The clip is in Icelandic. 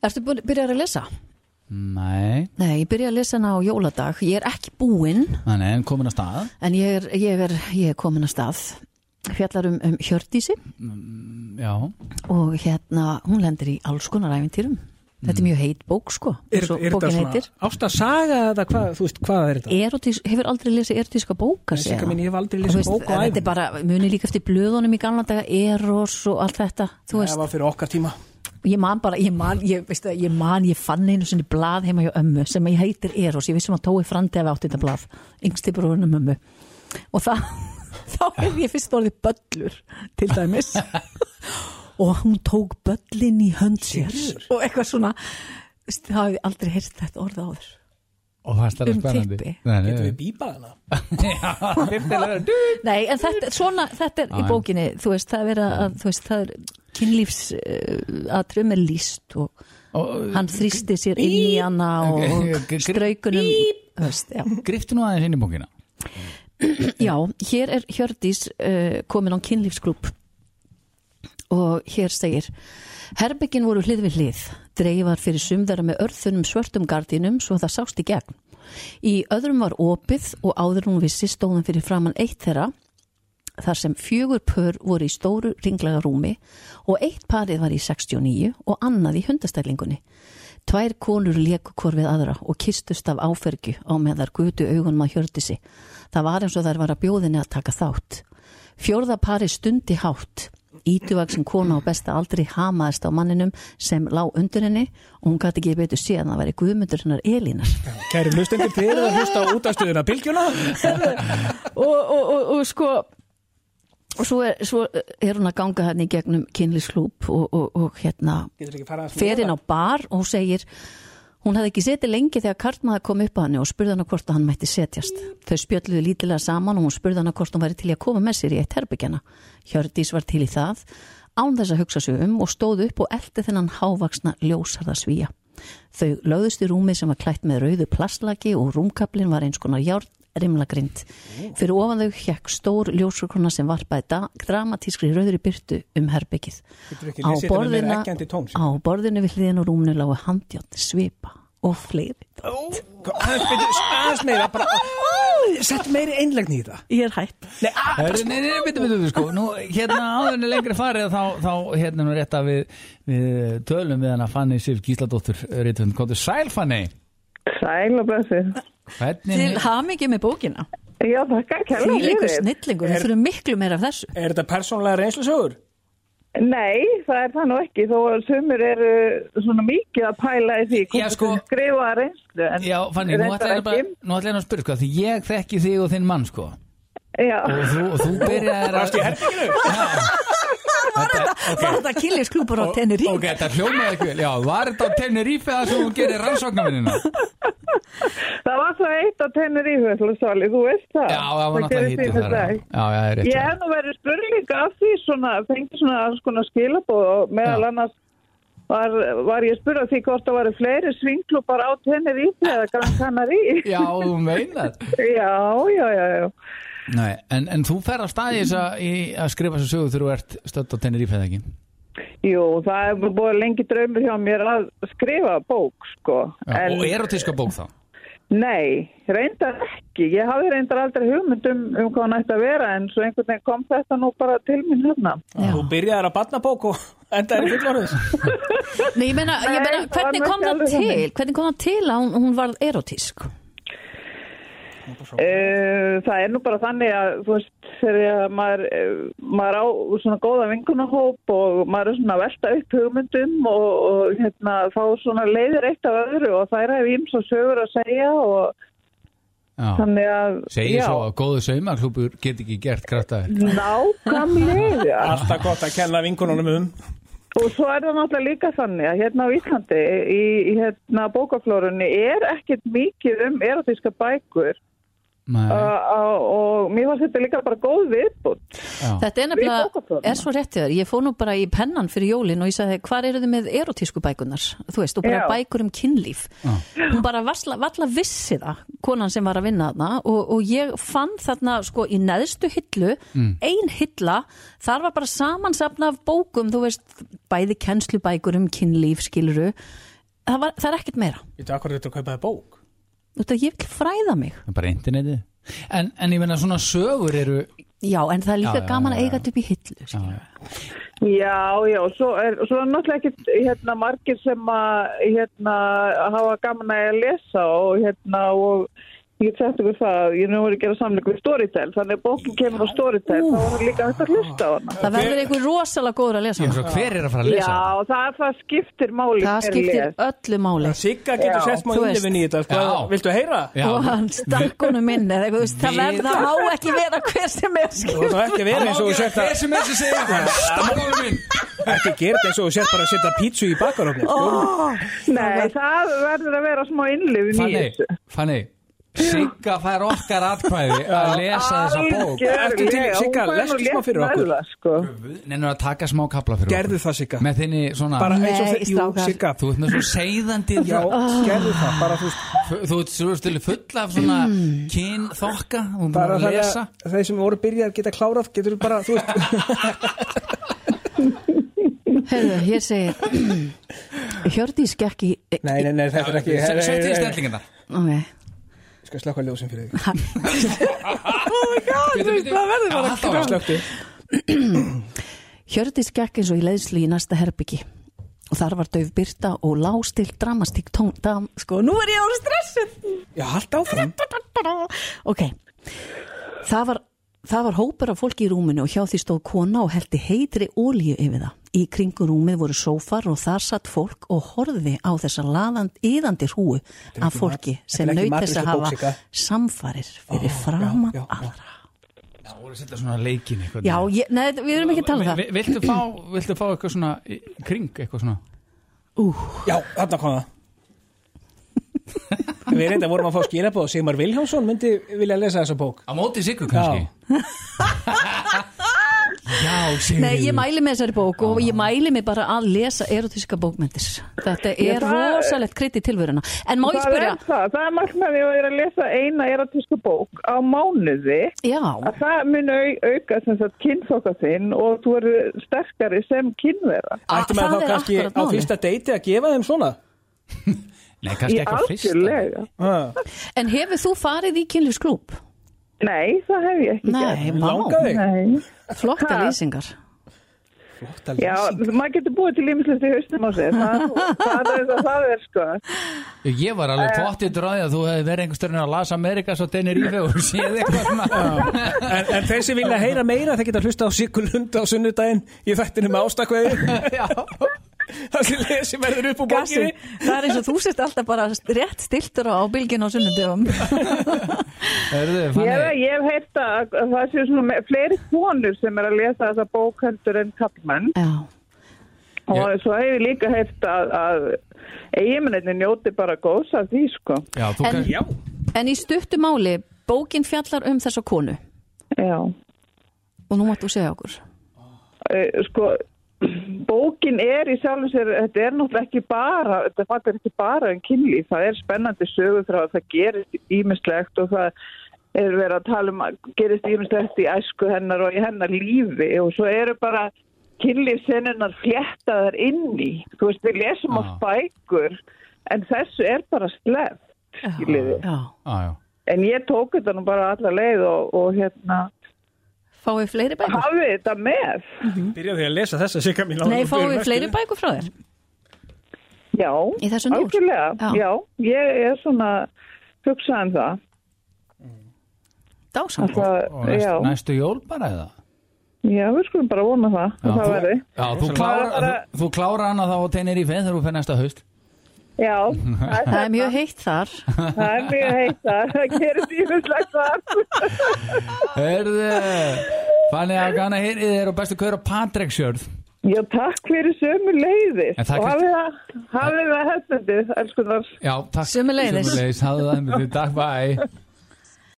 Ertu búin- byrjar að lesa? Nei, Nei, ég byrja að lesa hana á jóladag. Ég er ekki búinn, þannig en komin að stað en ég er, ég er, ég er komin að stað. Fjallar um, um Hjördísi Já, og hérna, hún lendir í alls konar æfintýrum. Þetta er mjög heit bók, sko. Mm. Er, Svo er þetta bókin svona heitir. ástasaga eða hvað, þú veist, hvað er þetta? Erotís, hefur aldrei lesið erotíska bóka Nei, segja Sigga það? mín, ég hef aldrei Þú lesið veist, bók á ævi. Þetta er bara, muni líka eftir blöðunum í gamla daga Eros og allt þetta Þú Það veist, var fyrir okkar tíma. ég man bara, ég man ég, veist, það, ég man, ég fann einu sinni blað heima hjá ömmu sem ég heitir Eros, ég vissum að Tói Frandi hefði átt þetta blað, yngsti bróðunum ömmu og það þá hef ég fyrst orðið böllur til dæmis og hún tók böllin í hönd sér og eitthvað svona veist, það hefði aldrei heyrt þetta orð áður og það er stærlega Um spennandi tippi. Nei, Getum við nei, bíbað hana? Nei, en þetta, svona, þetta er í já. bókinni, þú veist, það er verið að, þú veist, það er kynlífs uh, að trum er líst og og uh, hann þrýsti sér inn í hana og Ok, ok, ok. straukunum, þú veist, já. grifti nú aðeins inn í bókina Já, hér er Hjördís uh, komin á kynlífsklúb og hér segir Herbyggin voru hlið við hlið dreifar fyrir sumðara með örðunum svörtum gardínum svo það sást í gegn Í öðrum var opið og áður en hún vissi stóðum fyrir framann eitt þeirra þar sem fjögur pör voru í stóru ringlega rúmi og eitt parið var í 69 og annað í hundastælingunni Tvær konur leku hvort við aðra og kistust af áfergju á með þar gutu augunum að hjördi sig. Það var eins og þær var að bjóðinni að taka þátt. Fjórða pari stundi hátt. Ítuvaksin kona á besta aldri hamaðist á manninum sem lá undir henni og hún gæti ekki betur séð að það væri guðmundur hennar Elínar. Kæri hlustendur, þið eru að hlusta á útastöðuna Bilgjuna. og, og, og, og sko og svo er, svo er hún að ganga henni í gegnum kynlísklúb og, og, og hérna Getur ekki farað að fer inn á bar og hún segir hún hefði ekki setið lengi þegar kartmaður kom upp að henni og spurði hana hvort að hann mætti setjast. Þau spjölluðu lítilega saman og hún spurði hana hvort hún væri til í að koma með sér í eitt herbyggjana. Hjördís var til í það, án þess að hugsa sig um og stóð upp og eldi þennan hávaksna ljósarða svíja. Þau löðust í rúmi sem var klætt með rauðu plastlaki og rúmkaplin var eins konar járn rimlagrind. Fyrir ofan þau hjekk stór ljósarkona sem varpaði da- dramatískri rauðri byrtu um herbyggið. Getur ekki Á lesið þetta með meira borðina- eggjandi tón, Á borðinu við hliðin og rúminu lágu handjátt, svipa og fleiri. Aðeins byrju- aðeins meira, bara, sett meiri einlegni í það. Ég er hætt. Nei, að, Nei, nei, nei, bitu, bitu, bitu, sko Nú, hérna áðurinn lengri farið þá, þá hérna nú rétt að við, við tölum við hana Fanny Sif Gísladóttur Rítvönd, komdu sæl Fanny Sæl og blessi. Til Hvernig, hamingi með bókina. Já, þakka, kærlega Þvíleikur fyrir. snillingur, við þurfum miklu meira af þessu. er þetta persónlega reynslusögur? Nei, það er það nú ekki, þó að sumur eru svona mikið að pæla í því Já, hvort sko- þau skrifa reynslu. en já Fanny, nú reyndar ætla ég bara ekki. nú ætla ég nú að spyrja, sko, því ég þekki þig og þinn mann, sko Já, og þú, og þú byrjaðir Varst í herbygginu? Var þetta killisklúpar á tennir Ok, þetta hljómaði ekki vel, já, var þetta á Tenerife það sem hún gerir rannsóknarvinnina? það var svo eitt á tennur í höfðlusali, þú veist það. Já, það var náttúrulega gerist hítið ýmislegt. þar. Já, já, já, það er rétt. Ég já. hef nú verið spurning af því svona, fengi svona alls konar skilabóð og meðal Já. annars var, var ég spurð af því hvort það varu fleiri svingklubbar á tennur í eða Gran Canarí. Já, þú meinar. já, já, já, já. Nei, en, en þú fer að staði þess að, í, að skrifa þessu sögu þegar þú ert stödd á Tenerife eða ekki? Jú, það hefur búið lengi draumur hjá mér að skrifa bók, sko. Já, og erotíska bók þá? Nei, reyndar ekki. Ég hafi reyndar aldrei hugmynd um, um hvað hann ætti að vera en svo einhvern veginn kom þetta nú bara til mín hérna. Þú byrjaðir að batna bók og endaðir í fullorðis. Nei, ég meina, ég Nei, meina það var hvernig nú kom ekki það alveg til? þannig. Hvernig kom það til að hún, hún varð erotísk? Eh. Uh, það er nú bara þannig að, þú veist, þegar maður, eh, maður á svona góða vingunahóp og maður er svona að velta upp hugmyndum og, og hérna, þá svona leiðir eitt af öðru og þær hefur íms og sögur að segja og Já. þannig að... Segir já, svo að góðu saumaklúpur get ekki gert kraftaverk. Nákvæmlega. Alltaf gott að kenna vinkununum um. Og svo er það náttúrulega líka þannig að hérna á Íslandi í í hérna bókaflórunni er ekkert mikið um erotíska bækur Nei, uh, uh, og mér fannst þetta líka bara góð viðbútt. já. Þetta er nefnilega, bókaflóðina. er svo réttið þér, ég fór nú bara í pennan fyrir jólin og ég sagði, hvað eru þið með erotísku bækunar? Þú veist, og bara Já. bækur um kynlíf. Hún bara varsla, valla vissi það, konan sem var að vinna þarna og, og ég fann þarna sko í neðstu hillu, Mm. ein hilla, þar var bara samansapna af bókum, þú veist, bæði kennslubækur um kynlíf skiluru, það, var, það er ekkert meira Veitu, akkur er þetta að kaupa það bók? Þú veit að ég vil fræða mig Það er bara internetið en, en ég menna svona sögur eru Já, en það er líka Já, já, gaman já, að já. eiga þetta upp í hillu já, Já, já, svo er, svo er náttúrulega ekkert hérna, margir sem að hérna, hafa gaman að ég að lesa og hérna og ég get sagt ykkur það, ég er nú voru að gera samleik við Storytel, þannig að bókin kemur á Storytel, þá er það líka hægt að hlusta á hana. Það verður einhver rosalega góður að lesa Ég hana. er svo, hver er að fara að lesa þetta? Já, það, það skiptir máli Það hver les. skiptir öllu máli Sigga getur Já, sett smá þú veist. innlifin í þetta sko. Já. Viltu heyra? Já, og hann stakk honum inn eða eitthvað, þú veist, það Við- verður, það má ekki vera hver sem er sko. Þú skil veist ekki verið eins og þú sett hver að sem er sem segir það Stakkólu minn ekki gert eins og þú sett bara að setja pítsu í bakarofni sko. Nei, það verður að vera smá innlifin í Fannig, þessu. Fannig Sigga fær okkar atkvæði að lesa þessa bók Algjörlega, Ertu til í- hún Sigga, fær nú lestu smá létt fyrir okkur. með það, sko. Nennir að taka smá kapla fyrir Gerðu það Sigga okkur Með þinni svona Bara eins og Nei, þeir, jú strákar. Sigga Þú ert með svo seiðandi Já, gerðu það, bara þú veist Þú þú ert svo stilu full af svona Mm. kyn þokka Þú ert búin bara að þannig lesa að þeir sem voru byrjar geta klárað getur bara, þú veist Heyrðu, hér segir Hjördís gekk í Nei, nei, nei, þetta er ekki Se- nei, Settu í nei, nei. stellingan það okay. Ég Skal slökka ljósin fyrir þig Það verður bara Bara slökktu Hjördís gekk eins og í leiðslu í næsta herbyggi og þar var dauf byrta og lástilt dramastík tón dam, sko, nú er ég á stressin Já, haldt áfram ok það var, það var hópur af fólki í rúminu og hjá því stóð kona og heldi heitri ólíu yfir það í kringu rúmið voru sófar og þar satt fólk og horfði á þessa laðand yðandi hrúu af fólki mat- sem þetta er ekki naut þess að matreiðslu bók, hafa Sigga. samfarir fyrir já, framan já. aðra Það voru að setja svona leikin eitthvað já, ég, neð, við erum ekki að tala um það Vi- Viltu fá, viltu fá eitthvað svona í í kring, eitthvað svona Já, þarna kom það Við reynda vorum að fá skilabóð Sigmar Vilhjámsson myndi vilja lesa þessa bók Á móti sigur kannski Já, sigur Nei, ég mæli með þessari bók og ég mæli mig bara að lesa erotíska bókmyndir. Þetta er Já, það- rosalegt krydd í tilvöruna. En má ég Það spyrja? er það, það er marknaði að ég er að lesa eina erotísku bók á mánuði Já, að það mun au, auka sem sagt kynþokka þinn og þú eru sterkari sem kynvera. Ættum að Ah, það þá er kannski akkurat á málið. fyrsta deiti að gefa þeim svona Nei, kannski Í ekki á fyrsta algjörlega. Ha, en hefur þú farið í kynlífsklúb? Nei, það hef ég ekki gert. Nei, vá, Langaði þig? Nei. flotta Ha. lýsingar. Flotta Já, lýsing maður getur búið til ímislegt í haustum á sig. Það, það er það, það er sko. Ég var Eh. alveg fóttið dráði að þú hefði verið einhver stjórn að lasa Amerikas og Tenerife og séð eitthvað svona En, en þeir sem vilja heyra meira þeir geta hlusta á Sigurlund á sunnudaginn í þættinu með ástakveði Það sem lesi verður upp á Gassi, bókinni það er eins og þú sést alltaf bara rétt stiltur á bylginu á sunnundöfum. Hörðu, Ég hef, fannig ég hef heyrt að að það séu svona me- fleiri konur sem er að lesa þessa bók heldur en kallmenn Já, og Ég- svo hef ég líka heyrt að, að eiginmenninni njóti bara góðs af því sko. Já, þú En- kannski Já, en í stuttu máli, bókin fjallar um þessa konu Já. og nú máttu segja okkur. Eh, sko bókin er í sjálfum sér þetta er náttúrulega ekki bara þetta fattar ekki bara um kynlíf það er spennandi sögur frá að það gerist ímislegt og það er verið að tala um að gerist ímislegt í æsku hennar og í hennar lífi og svo eru bara kynlífsennunar fléttaðar inn í þú veist við lesum á Já. spækur en þessu er bara sleft skiljiði Já, Já, Ah, já en ég tók þetta nú bara alla leið og, og hérna fáið fleiri bækur? hafið þetta með byrjaði að lesa þessa Sigga mín Nei, fáið fleiri bækur frá þér? Já, Í þessum dúr? algjörlega, Já. já. ég er svona hugsað um það. Dásamt. Að það Og næst, já, næstu jól bara eða? já, við skulum bara vona það, Já, að það þú- verði. Já, þú klárar, Það er bara- þú, þú klárar hana þá á Tenerife þegar þú fyrir næsta haust Já, Það er mjög heitt þar. það er mjög heitt að það gerir dýfuslegt það. Hörðu, fannig að gana hér þér og bestu kaur á Patreksjörð Já, takk fyrir sömu leiðis En það og kannski- hafið það, hafið það hefnandi, elskunar. Já, takk Sömuleiðis. Sömuleiðis, hafðu það með því, takk, bæ